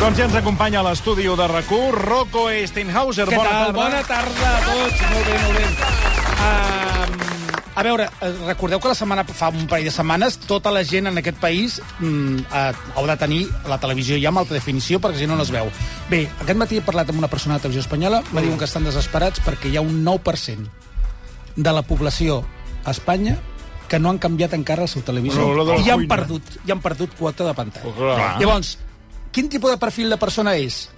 Doncs ja ens acompanya a l'estudi de rac Rocco Steinhauser. Què Bona tal? tarda. Bona tarda a tots. Molt bé, molt bé. Um, a veure, eh, recordeu que la setmana fa un parell de setmanes tota la gent en aquest país mm, eh, heu de tenir la televisió ja amb alta definició perquè si no no es veu. Bé, aquest matí he parlat amb una persona de televisió espanyola, Mm. me diuen que estan desesperats perquè hi ha un 9% de la població a Espanya que no han canviat encara el seu televisor Bueno, la de la i han cuina. perdut, i han perdut quota de pantalla. clar. Llavors, quin tipus de perfil de persona és?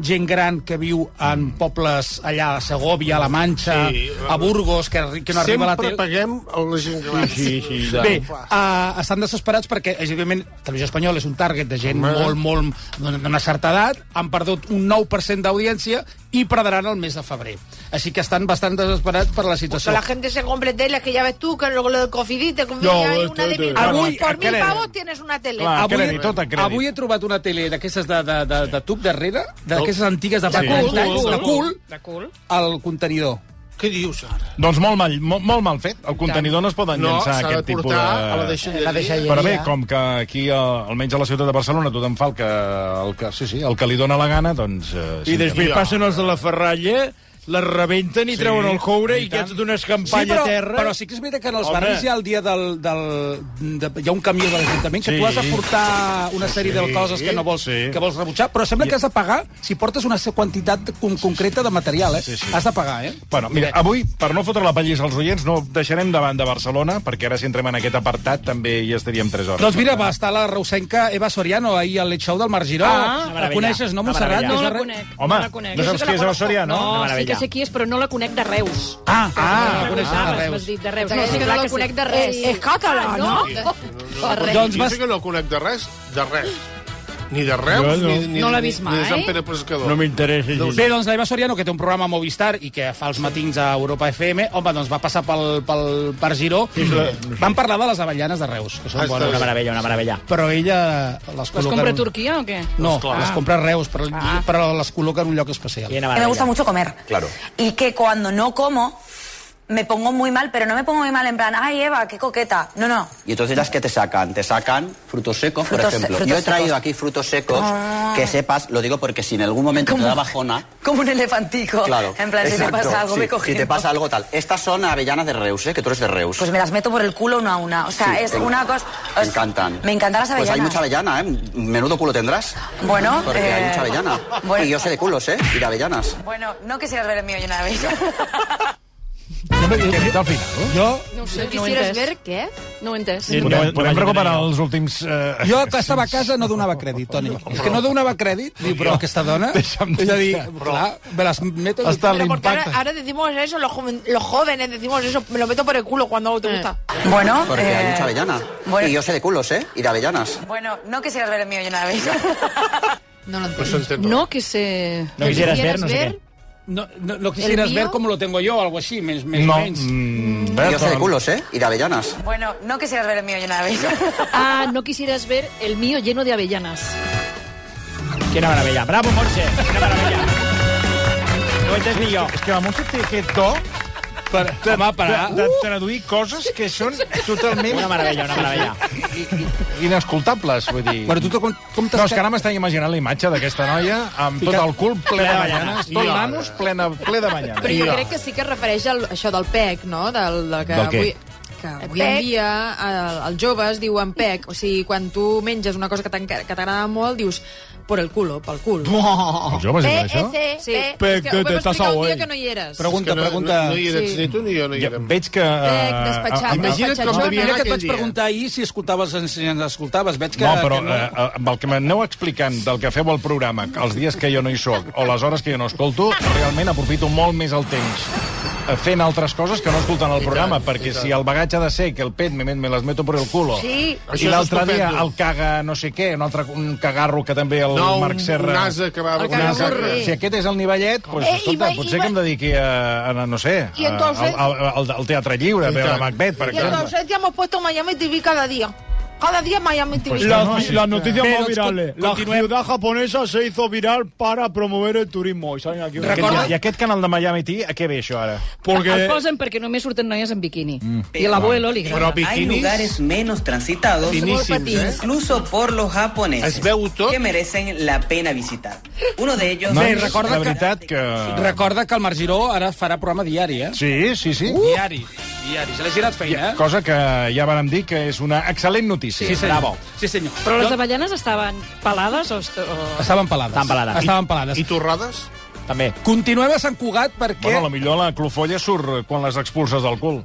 Gent gran que viu en pobles allà a Segòvia, a la Mm. Manxa, Sí. a Burgos, que, arri- que no arriba a la Sempre tele... paguem a la gent gran. Sí, sí, i tant. Bé, uh, estan desesperats perquè, evidentment, Televisió Espanyola és un target de gent Home. molt, molt d'una- d'una certa edat, han perdut un 9% d'audiència i perdran el mes de febrer. Així que estan bastant desesperats per la Que situació. la gente se compre teles, que ya ves tú, que luego lo del cofidí te conviene No, ahí esto- una de esto- mil Ah, pavos. voy a Por mil querer. pavos tienes una tele. Clar. A Avui, crèdit, tot a crèdit. avui he trobat una tele d'aquestes de, de, de, de tub darrere, d'aquestes antigues de fa Sí. 40 anys, De de cul, cul, al contenidor. Què dius ara? Doncs molt mal, molt, molt mal fet. El contenidor no es poden No, llançar s'ha de aquest tipus de... portar a la deixalleria. La deixalleria. Però bé, com que aquí, eh, almenys a la ciutat de Barcelona, tothom fa el que, el que, sí, sí, el que li dóna la gana, doncs... Eh, sí, I després també. passen els de la ferralla, les rebenten i treuen el coure i, que tot una escampalla però, a terra. però sí que és veritat que en els Home. barris hi ha el dia del... del de, hi ha un camió de l'Ajuntament que Sí. tu has de portar una sèrie de coses que no vols, sí. que vols rebutjar, però sembla que has de pagar si portes una quantitat con, concreta de material, eh? Sí, sí. Has de pagar, eh? Bueno, mira, avui, per no fotre la pallissa als oients, no deixarem davant de Barcelona, perquè ara si entrem en aquest apartat també hi estaríem 3 hores. Doncs mira, va estar la reusenca Eva Soriano ahir al Late Show del Mar Giró. Ah, la coneixes, no, Montserrat? No Des de la re- conec. Home, no la conec. no saps qui és Eva Soriano? No, Una sí que sé qui és, però no la conec de Reus. Ah, ah, la la coneixes de Reus. M'has dit de Reus. No, És sí, que clar no la que sí. Eh, conec de res. És, és català, Ah, no? no? De Reus. Doncs Jo vas- sé que no conec de res, de res. Ni de Reus, Jo no. ni, ni, No l'ha vist ni de Sant mai. Pere Pescador. No m'interessa. gens. Bé, doncs l'Eva Soriano, que té un programa a Movistar i que fa els matins a Europa FM, home, doncs va passar pel, pel Bar Giró. Van parlar de les avellanes de Reus, que són Ah, bones. està bé. meravella, una meravella. Però ella les Les col·loca... compra a en un- Turquia o què? No, les compra a Reus, però, però les col·loca en un lloc especial. Que me gusta mucho comer. Claro. Y que cuando no como, me pongo muy mal, pero no me pongo muy mal en plan, ay, Eva, qué coqueta. No, no. Y entonces las que te sacan, te sacan frutos secos, Frutos- por ejemplo. frutos Yo he traído secos. Ah. aquí frutos secos que sepas, lo digo porque si en algún momento te da bajona, Como un elefantico. claro. En plan, si te Exacto, pasa algo, sí, me coges. Si te pasa algo tal. Estas son avellanas de Reus, ¿eh? que tú eres de Reus. Pues me las meto por el culo una a una. O sea, Sí, es te- una cosa... Me encantan. Me encantan las avellanas. Pues hay mucha avellana, ¿eh? Menudo culo tendrás. Bueno, Porque hay eh, mucha avellana. bueno. Y yo sé de culos, ¿eh? Y de avellanas. Bueno, no quisieras ver el mío lleno de avellanas. Què he dit al final? no? Jo, No ho sé, ¿No no ho he quisieras entès. ver qué? No ho he entès. Sí. Podem, No, podem no, recuperar no. els últims... Eh, jo que estava a casa no donava crèdit, Toni. És que no donava crèdit, diu, però aquesta dona... Deixa'm És a dir, dir-te, clar, me les meto... Està Pero porque ahora, l'impacte. ahora decimos eso, los, joven- los jóvenes decimos eso, me lo meto por el culo cuando algo te gusta. Bueno, Porque eh, hay mucha avellana. Bueno, Y yo sé de culos, ¿eh? Y de avellanas. bueno, no quisieras ver el mío lleno de avellanas. No lo entiendo. Pues s'entén tot. No que sé... No quisieras ver, no sé ver? què. No, no, no quisieras El ver mío? com lo tengo yo, algo així, més, més No. menys. Mm, Y yo sé de Berton. culos, ¿eh? Y de avellanas. bueno, no quisieras ver el mío lleno de avellanas. Ah, no quisieras ver el mío lleno de avellanas. Quina meravella. Bravo, Montse. Quina meravella. No este ho he entès ni jo. És que la Montse té aquest to Per, home, per... de, de traduir coses que són totalment... Una meravella, una meravella. Inescoltables, vull dir... Bueno, tu te com, com No, és que ara m'està imaginant la imatge d'aquesta noia amb tot el cul ple de ballanes, tot I nanos plena, ple de ballanes. Però jo crec que sí que es refereix al, això del PEC, no? Del, del que Del què? avui, que avui en PEC. dia el, els joves diuen PEC. O sigui, quan tu menges una cosa que t'enca- que t'agrada molt, dius por el culo, pel cul. Els joves diuen això? PSP. Sí, és Pec, que ho te- vam explicar un t'assaoy. dia que no hi eres. Però- Pregunta, És que no, pregunta. No, no hi eres Sí. ni tu ni jo, no hi Ja, érem. veig que... Pec, eh, despatxat, amb- Imagina't com despatxatxona. devia anar Mira que et vaig aquell dia. preguntar ahir si escoltaves, si ens escoltaves. Veig que... No, però que eh, eh, amb el que m'aneu explicant del que feu al programa, els dies que jo no hi sóc o les hores que jo no escolto, realment aprofito molt més el temps eh, fent altres coses que no escoltant el programa, perquè si el bagatge ha de ser que el pet me, me les meto por el culo, Sí. Això i és l'altre dia estupendo. el caga no sé què, un altre un cagarro que també el No, un- Marc Serra... un ase que va- El un que ase avorre. que- Si aquest és el nivellet, doncs, Eh, i escolta, va- i potser va- que em dediqui a, a no sé, I a- entonces- al, al, al teatre lliure, a veure tant. Macbeth, per Y entonces exemple. te hemos puesto Miami TV cada día. Cada día Miami TV. Pues Las- no, sí. las noticias Pero, más virales. con- eh. La continuem. ciudad japonesa se hizo viral para promover el turismo. Aquest, I aquest canal de Miami TV, a què ve això ara? El posen perquè només surten noies en biquini. I a l'abuelo li Però agrada. Hay biquinis lugares menos transitados, finíssims, eh? incluso por los japoneses, Es veu tot. que merecen la pena visitar. Uno de ellos... No, Bé, recorda la que- veritat que... Recorda que el Marc Giró ara farà programa diari, eh? Sí, sí, sí. Diari, diari. Se l'ha girat feina, eh? Cosa que ja vàrem dir que és una excel·lent notícia. Sí, senyor. Sí, senyor. Però les Jo- avellanes estaven pelades o... est- o... Estaven pelades. Estaven pelades. Estaven pelades. I torrades? També. Continuem a Sant Cugat perquè... Bueno, a la millor la clofolla surt quan les expulses del cul.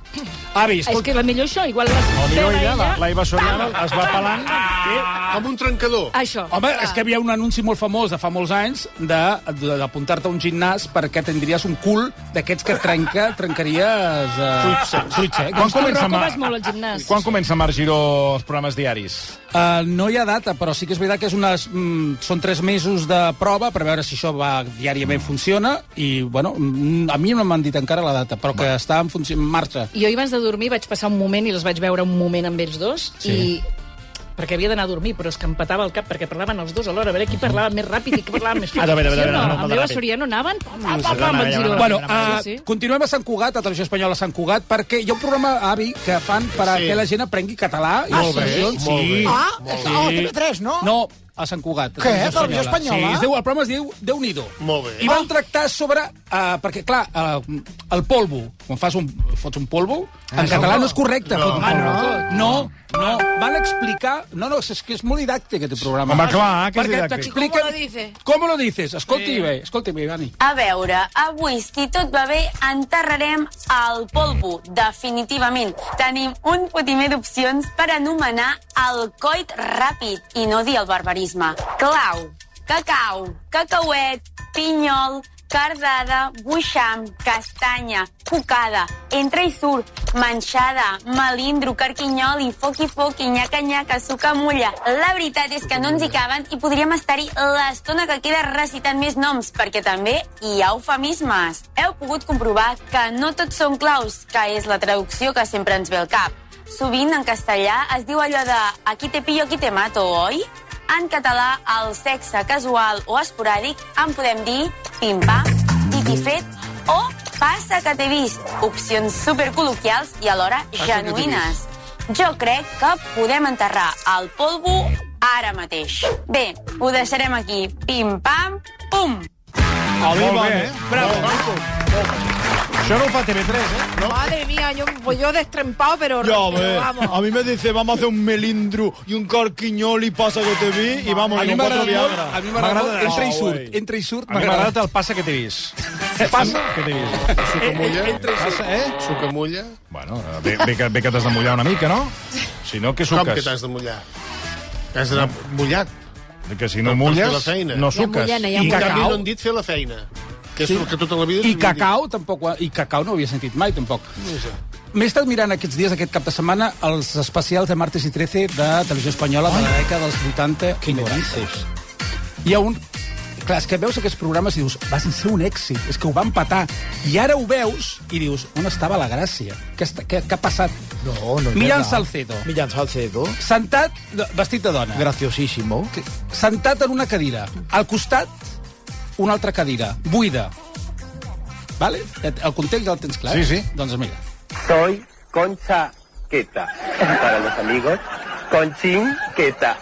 Avi, És escolta, que la millor això, igual les O millor pela ella, la, ella... la Eva Soriano, es va pelant... Amb un trencador. Això. Home, és que hi havia un anunci molt famós de fa molts anys de- de- d'apuntar-te a un gimnàs perquè tindries un cul d'aquests que trenca, trencaries... Eh, Fruits secs. Quan comença, Doncs Rocco, vas molt al gimnàs. quan comença Marc Giró els programes diaris? Uh, no hi ha data, però sí que és veritat que és unes, mm, són tres mesos de prova per veure si això va diàriament funciona i, bueno, mm, a mi no m'han dit encara la data, però que està en, funció, en marxa. Jo abans de dormir vaig passar un moment i els vaig veure un moment amb ells dos sí. i perquè havia d'anar a dormir, però és que em petava el cap perquè parlaven els dos alhora, a veure qui parlava més ràpid i qui parlava més... Ah, de veure, de veure, no, no, amb de l'Eva ràpid. Soriano anaven... Pam, pam, sí, pam, pam, anava, el ja giro. anava, Bueno, Mare uh, sí, sí. continuem a Sant Cugat, a Televisió Espanyola a Sant Cugat, perquè hi ha un programa, avi, que fan per a Sí. que la gent aprengui català. i Molt bé, expressions. molt bé. Ah, Ah, és a TV3, no? No, a Sant Cugat. Què? Televisió Espanyola? Sí, es diu, el programa es diu Déu-n'hi-do. Molt bé. I van tractar sobre... Uh, perquè, clar, uh, el polvo, quan fas un, fots un polvo, en català no és correcte. No, no. no, no. Van explicar... No, no, és que és molt didàctic, aquest programa. Home, clar, que és Perquè didàctic. t'expliquen- I com lo dice? Com lo dices? Escolti bé, escolti bé, Dani. A veure, avui, si tot va bé, enterrarem el polvo, definitivament. Tenim un fotimer d'opcions per anomenar el coit ràpid i no dir el barbarisme. Clau, cacau, cacauet, pinyol, cardada, buixam, castanya, cucada, entra i surt, manxada, malindro, carquinyoli, foqui foqui, nyaca nyaca, suca mulla. La veritat és que no ens hi caben i podríem estar-hi l'estona que queda recitant més noms, perquè també hi ha eufemismes. Heu pogut comprovar que no tots són claus, que és la traducció que sempre ens ve al cap. Sovint en castellà es diu allò de aquí te pillo, aquí te mato, oi? En català, el sexe casual o esporàdic en podem dir pim-pam, dit i fet o passa que t'he vist. Opcions supercol·loquials i alhora genuïnes. Jo crec que podem enterrar el polvo ara mateix. Bé, ho deixarem aquí. Pim-pam, pum! Molt bé, eh? Bravo. Això no ho fa TV3, eh? Madre mía, yo, pues yo destrempado, pero, Ya pero ves. A vamos. mí me dice, vamos a hacer un melindro y un carquiñol y pasa que te vi y vamos A mi con cuatro m'agrada molt, Viagra. a mi m'agrada molt, entra i No, surt, güey. entra i surt, A mi m'ha m'agrada. agradat el passa que t'he vist. Passa que t'he vist. Sucamulla. Passa, eh? Sucamulla. Bueno, bé, bé, que, bé que t'has de mullar una mica, no? Si no, què Com suques? que t'has de mullar? T'has d'anar mullat. Que si no Per fer la mulles, feina. no Hi ha suques. mullena, hi ha I en mullena. canvi no han dit fer la feina. Que és el que tota la vida... I s'havia dit. cacau tampoc, ho ha- i cacau no ho havia sentit mai, tampoc. M'he estat mirant aquests dies, aquest cap de setmana, els especials de Martes i 13 de Televisió Espanyola de la dècada dels 80 i 90. Hi ha un... Clar, és que veus aquests programes i dius, va ser un èxit, és que ho van patar. I ara ho veus i dius, on estava la gràcia? Què, està, què, què ha passat? No, no es Millán verdad. Salcedo. Millán Salcedo. Sentat, vestit de dona. Graciosísimo. Que- sentat en una cadira. Al costat, una altra cadira, buida. Vale? Et- El context ja el tens clar? Sí, sí. Doncs mira. Soy Concha Queta. Para los amigos, Conchín Queta.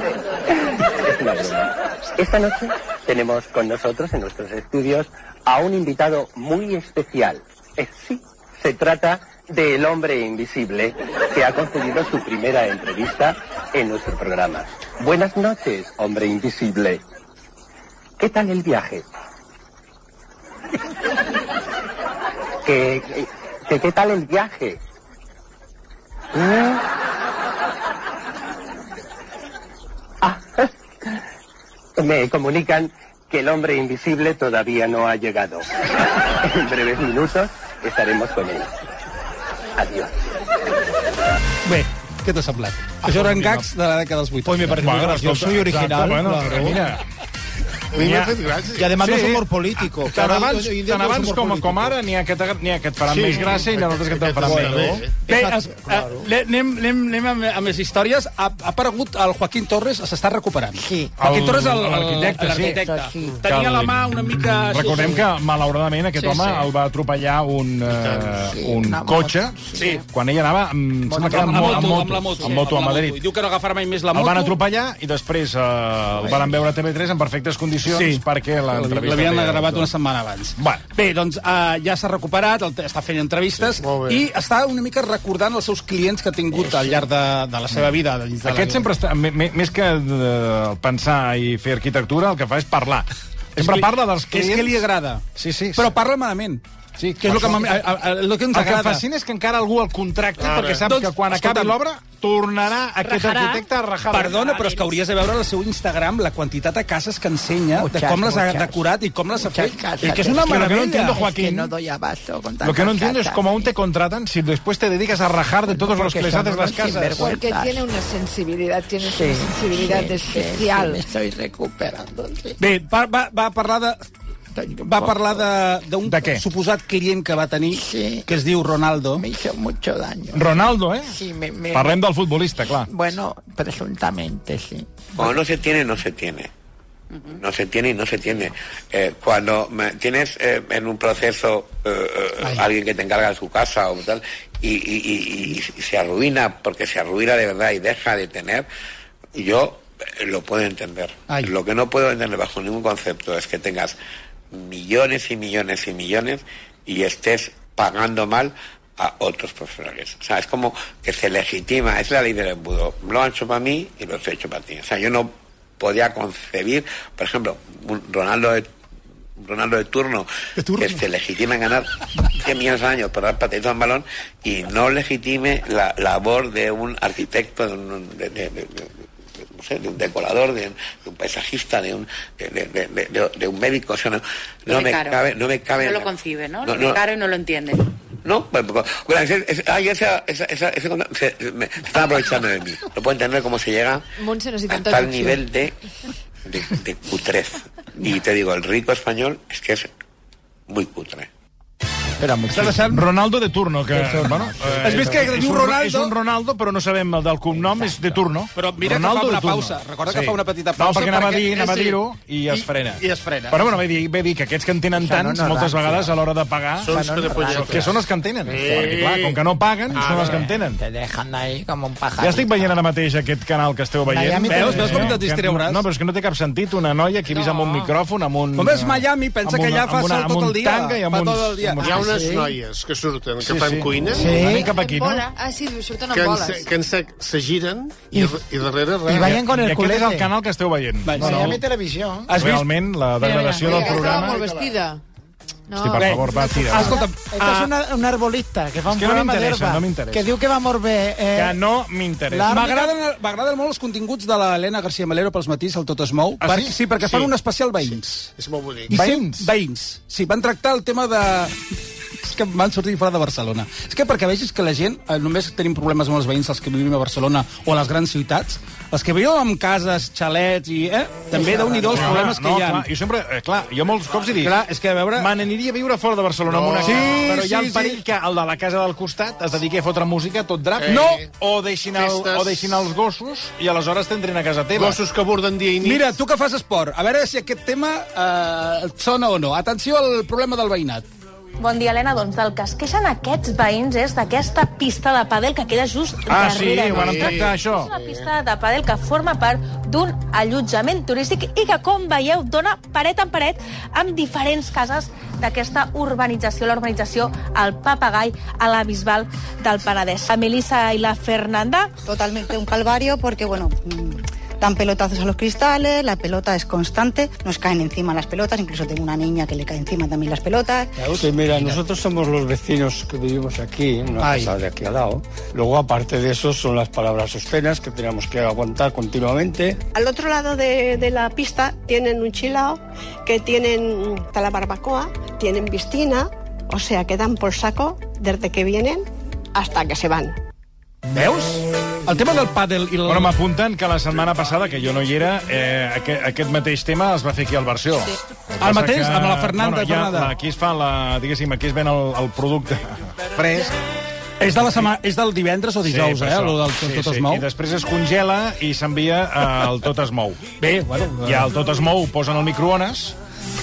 es una broma. Esta noche tenemos con nosotros en nuestros estudios a un invitado muy especial. Eh, sí, se trata del hombre invisible que ha concedido su primera entrevista en nuestro programa. Buenas noches, hombre invisible. ¿Qué tal el viaje? ¿Qué, qué, qué, qué tal el viaje? ¿Mm? Ah, me comunican que el hombre invisible todavía no ha llegado. En breves minutos estaremos con él. Adiós. Bé, què t'ha semblat? Ah, Això eren gags de la dècada dels 80. Bueno, gracioso com soy original, Exacto, bueno, claro. mira, A mi m'ha fet gràcia. I además no és humor político. Tant Ara, abans, hoy en dia tant no és abans humor com, político. com ara n'hi ha, que t'agra- n'hi ha que et faran Sí. més gràcia i n'hi ha altres que et faran Bueno, menys. Bé, es, eh, le- anem, anem, anem amb, amb les històries. Ha, ha aparegut el Joaquín Torres, s'està recuperant. Sí. Joaquín El- Torres, el- el- l'arquitecte, sí. l'arquitecte. Sí. Tenia Que la el- mà una mica... Recordem que, malauradament, aquest Sí, home sí. el va atropellar un, eh, un una moto. cotxe Sí. quan ella anava amb, Amb, sembla que amb, era la mo- moto, amb la moto, amb moto a amb la Madrid. moto. I diu que no agafarà mai més la El moto. van atropellar i després eh, el van veure a TV3 en perfectes condicions Sí. perquè l'entrevista... L'havien de- gravat una setmana abans. Bueno. Bé, doncs uh, ja s'ha recuperat, el, està fent entrevistes sí, i està una mica recordant els seus clients que ha tingut al llarg de, de la seva vida. Dins de Aquest la... sempre està... me- me- Més que eh, pensar i fer arquitectura, el que fa és parlar. Sempre li- parla dels és clients... que li agrada. Sí, sí. Però parla malament. Sí, que és el que, m'am- a, a, a, el que ens el que agrada. em fascina és que encara algú el contracti Ara. perquè sap Doncs, que quan acabi escolta'm, l'obra tornarà aquest Rajarà. arquitecte a rajar. Perdona, però és que hauries de veure el seu Instagram la quantitat de cases que ensenya, Muchas, de com les ha muchas. decorat i com les ha fet. casas. És que és una Es que lo que no meravella. entiendo, Joaquín, Es que no doy abasto con Lo que no entiendo es cómo aún te contratan si después te dedicas a rajar de todos los que les haces las casas. Porque tiene una sensibilidad, tiene una sensibilidad especial. estoy recuperando. sí. Bé, va, va, va parlar de... Va parlar de- d'un suposat client que va tenir, sí. que es diu Ronaldo. Me hizo mucho daño. Ronaldo, eh? Sí, me, me- Parlem del futbolista, clar. Bueno, presuntamente, sí. Cuando no se tiene, no se tiene. No se tiene y no se tiene. Eh, cuando me- tienes eh, en un proceso eh, eh, alguien que te encarga de su casa o tal, y, y- y- y- y se arruina porque se arruina de verdad y deja de tener, yo eh, lo puedo entender. Lo que no puedo entender bajo ningún concepto es que tengas millones y millones y millones y estés pagando mal a otros profesionales. O sea, es como que se legitima, es la ley del embudo. Lo han hecho para mí y lo he hecho para ti. O sea, yo no podía concebir, por ejemplo, un Ronaldo de, Ronaldo de turno, que se legitime en ganar 100 millones al año por dar patadita a un balón y no legitime la labor de un arquitecto, de un, de- de- de- de- no sé, de un decorador, de, un- de un paisajista, de un, de, de- de- de- de- de un médico. O sea, no, no me caro. cabe, no me cabe. No en lo la- concibe, ¿no? No, Lo ve no. caro y no lo entiende. no, pues, pues, bueno, ese- ese- ay, esa- esa- esa- ese contra- se- se- me- se están aprovechando de mí. No puedo entender cómo se llega Montse necessita hasta el traducció. nivel de, de, de cutrez. Y te digo, el rico español es que es muy cutre. Era molt Està deixant Ronaldo de turno, que... De turno. Bueno, Ah, Sí. Es vist que és diu un- Ronaldo- És un Ronaldo, però no sabem el del cognom, és de turno. Però mira que Ronaldo fa una de turno. pausa. Recorda que fa una petita No, pausa perquè anava a perquè- dir, anava a Sí. dir-ho i es I- frena. i es frena. Però bueno, ve dir, ve dir que aquests que en tenen Això no tants, no moltes rancio. vegades a l'hora de pagar... Són Això no no superpunyeters. rancio. que són els que en tenen. Sí. Ah, Perquè, clar, com que no paguen, A són els veure, que en tenen. Te dejan ahí como un pajarito. Ja estic veient ara mateix aquest canal que esteu veient. Eh, Miami Veus? Veus com te distreuràs? No, però és que no té cap sentit una noia que he vist amb un micròfon, amb un... Com és Miami? Pensa amb que allà amb fa sol amb tot un el dia. Tanga i amb Fa uns, tot el dia. amb uns- Hi ha Ah, unes sí? noies que surten, que Sí, fan sí. cuina. Sí. Anem cap aquí, no? Bola. Ah, sí, diu, surten Que amb en, boles. se- que en se, se giren i, i darrere res. Ah, I aquest és el canal que esteu veient. Miami Televisió. Has vist? Realment, la mira. degradació Mira, del Estava programa... molt vestida. No. Hosti, per favor, va, tira. va. Escolta'm, ah. Esta es una, un arbolista que fa un que no programa m'interessa, d'herba. no m'interessa. que diu que va molt bé. Eh, Que no m'interessa. M'agraden m'agraden molt els continguts de l'Helena García Melero pels matins, al Tot es mou. Ah, per- sí? sí? perquè fan Sí. un especial veïns. És molt bonic. I Veïns? Veïns. Sí, van tractar el tema de... És que van sortir fora de Barcelona. És que perquè vegis que la gent, eh, només tenim problemes amb els veïns, els que vivim a Barcelona o a les grans ciutats, els que viuen en cases, xalets i... Eh, també, déu nhi els No, problemes que no, hi ha. clar, jo sempre, eh, clar, jo molts cops he dit... Clar, és que a veure... Me n'aniria a viure fora de Barcelona No. amb una Sí, casa, però hi ha sí, el perill que el de la casa del costat es dediqui a fotre música tot drap. Eh. No! O deixin, el, Festes. o deixin els gossos i aleshores t'entrin a casa teva. Gossos que borden dia i nit. Mira, tu que fas esport, a veure si aquest tema eh, et sona o no. Atenció al problema del veïnat. Bon dia, Helena. Doncs del que es queixen aquests veïns és d'aquesta pista de pàdel que queda just Ah, sí, darrere. ho van nostra. Eh, tractar, això. És una pista de pàdel que forma part d'un allotjament turístic i que, com veieu, dona paret en paret amb diferents cases d'aquesta urbanització, la urbanització al Papagai, a la Bisbal del Penedès. La Melissa i la Fernanda... Totalmente un calvario porque, bueno, mm, dan pelotazos a los cristales, la pelota es constante, nos caen encima las pelotas, incluso tengo una niña que le cae encima también las pelotas. Sí, mira, nosotros somos los vecinos que vivimos aquí, en una Ay. casa de aquí al lado. Luego, aparte de eso, son las palabras obscenas que tenemos que aguantar continuamente. Al otro lado de, de la pista tienen un chilao, que tienen está la barbacoa, tienen piscina, o sea, que dan por saco desde que vienen hasta que se van. Veus? El tema del pàdel i el... Bueno, m'apunten que la setmana passada, que jo no hi era, eh, aquest, aquest mateix tema es va fer aquí al Versió. Sí. El que passa mateix, amb la Fernanda Bueno, ja, Donada. la- aquí es fa la... Diguéssim, aquí es ven el, el producte fresc. És, de la sema... és del divendres o dijous, per eh? això. Lo del Sí, tot sí. es mou. I després es congela i s'envia al Tot es mou. Bé, bueno... eh. I al Tot es mou ho posen al microones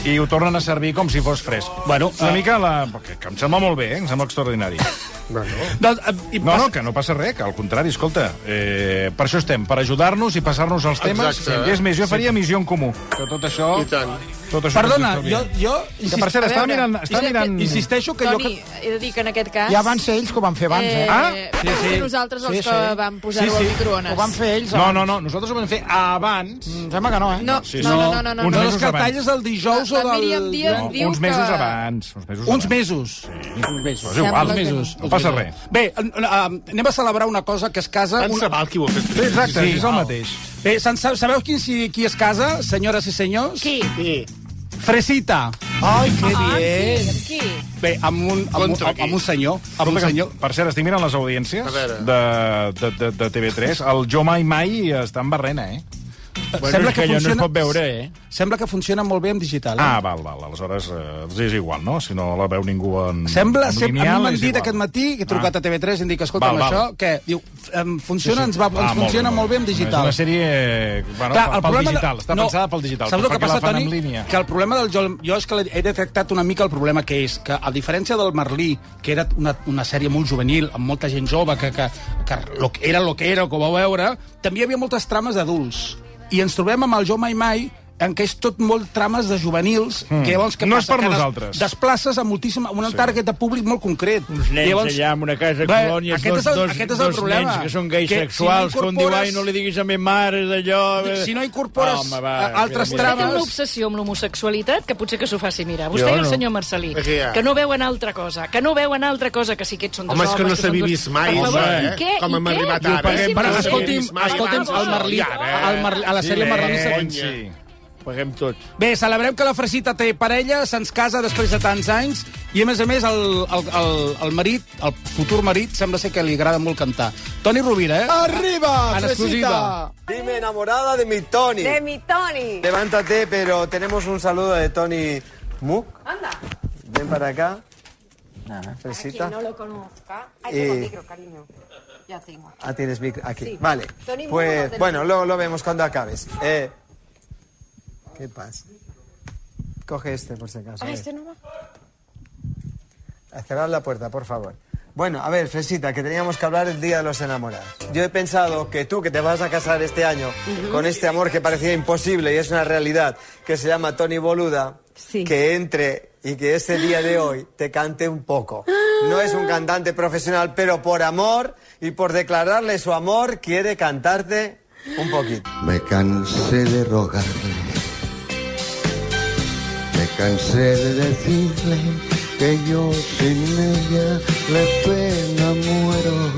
i ho tornen a servir com si fos fresc. Bueno, una eh, mica la... Que, que em sembla molt bé, eh? em sembla extraordinari. Doncs, i No, no, que no passa res, que al contrari, escolta, eh, per això estem, per ajudar-nos i passar-nos els temes. Exacte. eh. I és més, jo faria Sí. missió en comú. Que tot això... I tant. Tot això Perdona, que ens jo... estalviem. jo Que, per cert, A estava veure, mirant... és Estava que- mirant... Insisteixo que Toni, jo... he de dir que en aquest cas... Ja van ser ells que ho van fer abans, eh? Ah, sí, sí. nosaltres els que vam posar-ho al microones. Ho van fer ells No, abans. no, no, nosaltres ho vam fer abans. Em sembla que no, eh? No, Sí, sí. no, no, no, no, no. Uns no. mesos no. abans. el dijous o La del... Míriam Díaz No, diu uns mesos que- abans. Uns mesos Uns abans. mesos. Sí. Uns mesos. És igual. Uns mesos. No passa res. Bé, eh, eh, anem a celebrar una cosa que es casa... Tant se val qui ho ha fet. Sí, exacte, és el mateix. Bé, se'n sab- sabeu qui, si- qui es casa, senyores i senyors? Qui? Qui? Fresita. Ai, que Amb qui? Bé, amb un, amb, un, Contra amb, qui? amb un senyor. Amb un Escolta, que, senyor. Per cert, estic mirant les audiències de, de, de, de TV3. El Jo Mai Mai està en barrena, eh? Bueno, és que allò no es pot veure, eh? Sembla que funciona molt bé amb digital. Eh? Ah, val, val. Aleshores, eh, els és igual, no? Si no la veu ningú en Sembla, en sem a mi lineal, m'han és dit igual. Ah. aquest matí, que he trucat a TV3, i em dic, escolta, Val, val. amb això, que diu, em funciona, ens, va, ens Ah, funciona molt bé amb digital. És una sèrie bueno, Clar, pel, pel problema de- digital, està no, pensada pel digital. Saps però el que per què passa, la fan Toni? en línia? Que el problema del Joel... Jo és que he detectat una mica el problema que és, que a diferència del Merlí, que era una, una sèrie molt juvenil, amb molta gent jove, que, que, que lo, que era lo que era, que ho vau veure, també hi havia moltes trames d'adults. I ens trobem amb el Jo Mai Mai, en què és tot molt trames de juvenils, Hmm. Mm. que llavors que No és passa? per que des- nosaltres. Desplaces a moltíssim, a un sí. target de públic molt concret. Uns nens allà en una casa de colònies, aquest dos, és el, dos, aquest és el dos problema. nens que són gais si sexuals, que un diu, incorpores- "Ai, no li diguis a mi mare d'allò", eh. Si no incorpores Home, va, eh, altres mira, mira. Té una traves... obsessió amb l'homosexualitat que potser que s'ho faci mirar. Vostè Jo i el no. senyor Marcelí, És que ja. que no veuen altra cosa, que no veuen altra cosa, que sí que ets són dos Home, és homes... que no són s'havia dos- vist mai, Per favor, home, i eh? què? Com I hem què? arribat I ara, què? eh? Sí, Però sí. escolti'm, Ai, escolti'm, va, el va. Merlí, eh. el Merlí, a la sèrie Eh, Merlí Sí. Paguem tots. Bé, celebrem que la Fresita té parella, se'ns casa després de tants anys, i a més a més el, el, el, el marit, el futur marit, sembla ser que li agrada molt cantar. Toni Rovira, eh? ¡Arriba, En exclusiva. Fresita! Dime enamorada de mi Tony. De mi Tony. Levántate, pero tenemos un saludo de Tony Mook. Anda. Ven para acá. Fresita. lo conozca. Ahí tengo Eh. micro, cariño. Ya tengo. Ah, tienes micro aquí. Sí. Vale. Tony Mook lo Pues tenemos. bueno, luego lo vemos cuando acabes. Eh, ¿Qué pasa? Coge este por si acaso. a Ah, ver. este no va. A cerrar la puerta, por favor. Bueno, a ver, Fresita, que teníamos que hablar el Día de los Enamorados. Yo he pensado que tú, que te vas a casar este año con este amor que parecía imposible y es una realidad, que se llama Tony Boluda, que entre y que ese día de hoy te cante un poco. No es un cantante profesional, pero por amor y por declararle su amor, quiere cantarte un poquito. Me cansé de rogarle, me cansé de decirle que yo sin ella de pena muero.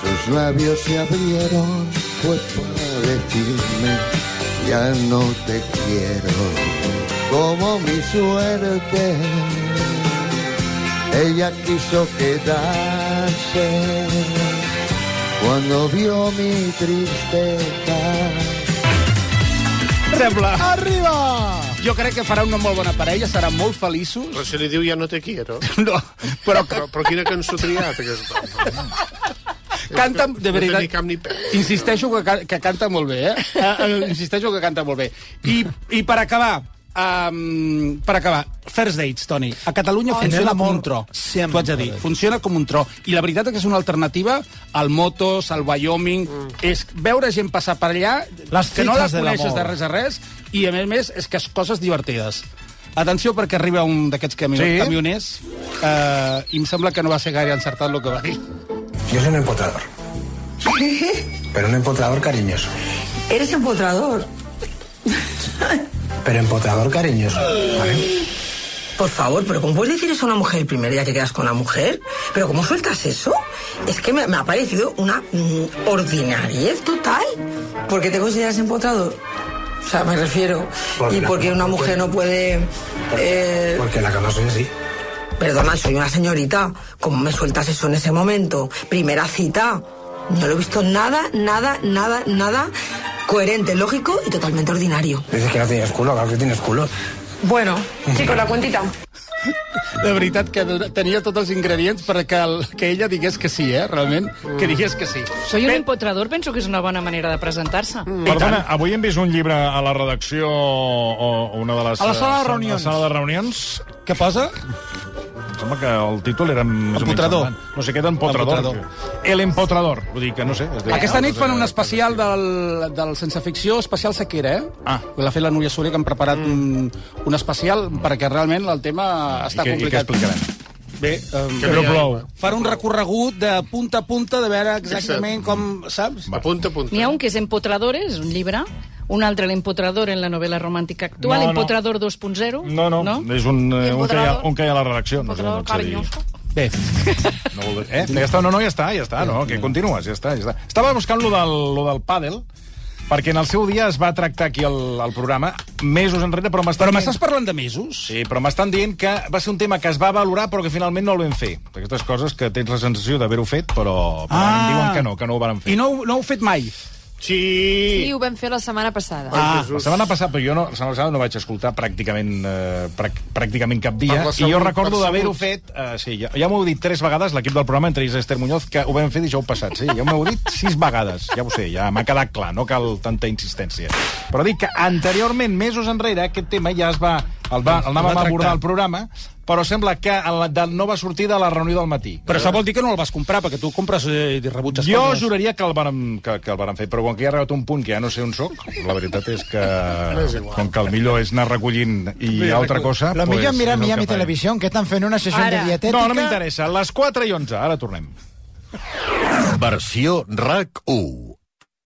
Sus labios se abrieron, fue para decirme, ya no te quiero, como mi suerte. Ella quiso quedarse cuando vio mi tristeza. Sembla. Arriba! Jo crec que farà una molt bona parella, seran molt feliços. Però si li diu ja no te quiero. No, però... però, però quina cançó ha triat, aquesta? Canta, de No té veritat, ni cap ni peu. Insisteixo que, ca- que canta molt bé, eh? Eh, eh? Insisteixo que canta molt bé. I, i per acabar, um, per acabar, First Dates, Toni. A Catalunya Oh, funciona com l'amor un tro. sempre. T'ho haig de dir. Funciona com un tro. I la veritat és que és una alternativa al Motos, al Wyoming... Mm. És veure gent passar per allà Les que no fitxes les de coneixes l'amor. de res a res i, a més a més, és que és coses divertides. Atenció, perquè arriba un d'aquests cami Sí? camioners eh, i em sembla que no va ser gaire encertat el que va dir. Yo soy un empotrador, pero un empotrador cariñoso. Eres empotrador. Pero empotrador cariñoso. Por favor, pero ¿cómo puedes decir eso a una mujer el primer día que quedas con una mujer? ¿Pero cómo sueltas eso? Es que me, me ha parecido una mm, ordinariez total. ¿Por qué te consideras empotrador? O sea, me refiero. Porque ¿Y la por qué cama una no mujer no puede... eh, Porque en la cama soy así. Perdona, soy una señorita. ¿Cómo me sueltas eso en ese momento? Primera cita. No lo he visto nada, nada, nada, nada coherente, lógico y totalmente ordinario. Dices que no tienes culo, claro que tienes culo. Bueno, chicos, la cuentita. De veritat que tenia tots els ingredients perquè el, que ella digués que sí, eh, realment. Que digués que sí. Soy un empotrador, penso que és una bona manera de presentar-se. Mm. Mm. Perdona, avui hem vist un llibre a la redacció o o una de les... A la sala de eh, reunions. A la sala de reunions. Què posa? Em sembla que el títol era... més o menys Empotrador. semblant. No sé què d'empotrador. Empotrador. El empotrador. Vull dir que no sé. es deia- Aquesta nit fan Altres, un especial del, del Sense Ficció, especial sequera, eh? Ah. Mm. L'ha fet la Núria Soler, que han preparat un, un especial, perquè realment el tema està què- i què complicat. explicaran? Bé, um, Que no plou. Fan un recorregut de punta a punta de veure exactament com, saps? De punta a punta. N'hi ha un que és Empotradores, un llibre, un altre l'Empotrador en la novel·la romàntica actual, No, no. Empotrador 2.0. No, no, no, és un, eh, un, que hi ha, un que hi ha a la redacció. No sé, no Empotrador et sé dir. cariñoso. Bé. No, vol dir- eh? Ja està, no, no, ja està, ja està, no, que continues, ja està, ja està. Estava buscant lo del, lo del pàdel, perquè en el seu dia es va tractar aquí el, el programa, mesos enrere, però m'estan... Però m'estàs parlant de mesos? Sí, però m'estan dient que va ser un tema que es va valorar però que finalment no el vam fer. Aquestes coses que tens la sensació d'haver-ho fet, però, però Ah. ah. diuen que no, que no ho van fer. I no, no heu fet mai? Sí, Sí. ho vam fer la setmana passada. Ah, la setmana passada, però jo no, la setmana passada no vaig escoltar pràcticament, eh, prac- pràcticament cap dia, Per la i salut, jo recordo per d'haver-ho salut. fet, eh, sí, ja, ja m'ho heu dit tres vegades l'equip del programa, entre ells Esther Muñoz, que ho vam fer dijous passat, sí, ja m'ho heu dit sis vegades, ja ho sé, ja m'ha quedat clar, no cal tanta insistència. Però dic que anteriorment, mesos enrere, aquest tema ja es va, el, va, el El anàvem va a abordar tractar. al programa, però sembla que en la, de, no va sortir de la reunió del matí. Però això vol dir que no el vas comprar, perquè tu compres eh, i rebutges Jo coses. juraria que el, varen, que, que el varen fer, però com que ja ha arribat un punt que ja no sé on sóc, la veritat és que, és igual. com que el millor és anar recollint i Mira, altra recull- cosa... Lo millor pues, es mirar és el Miami que farem. Televisión, que están en una sesión de dietética. No, no m'interessa. Les 4 i 11, ara tornem. Versió RAC 1.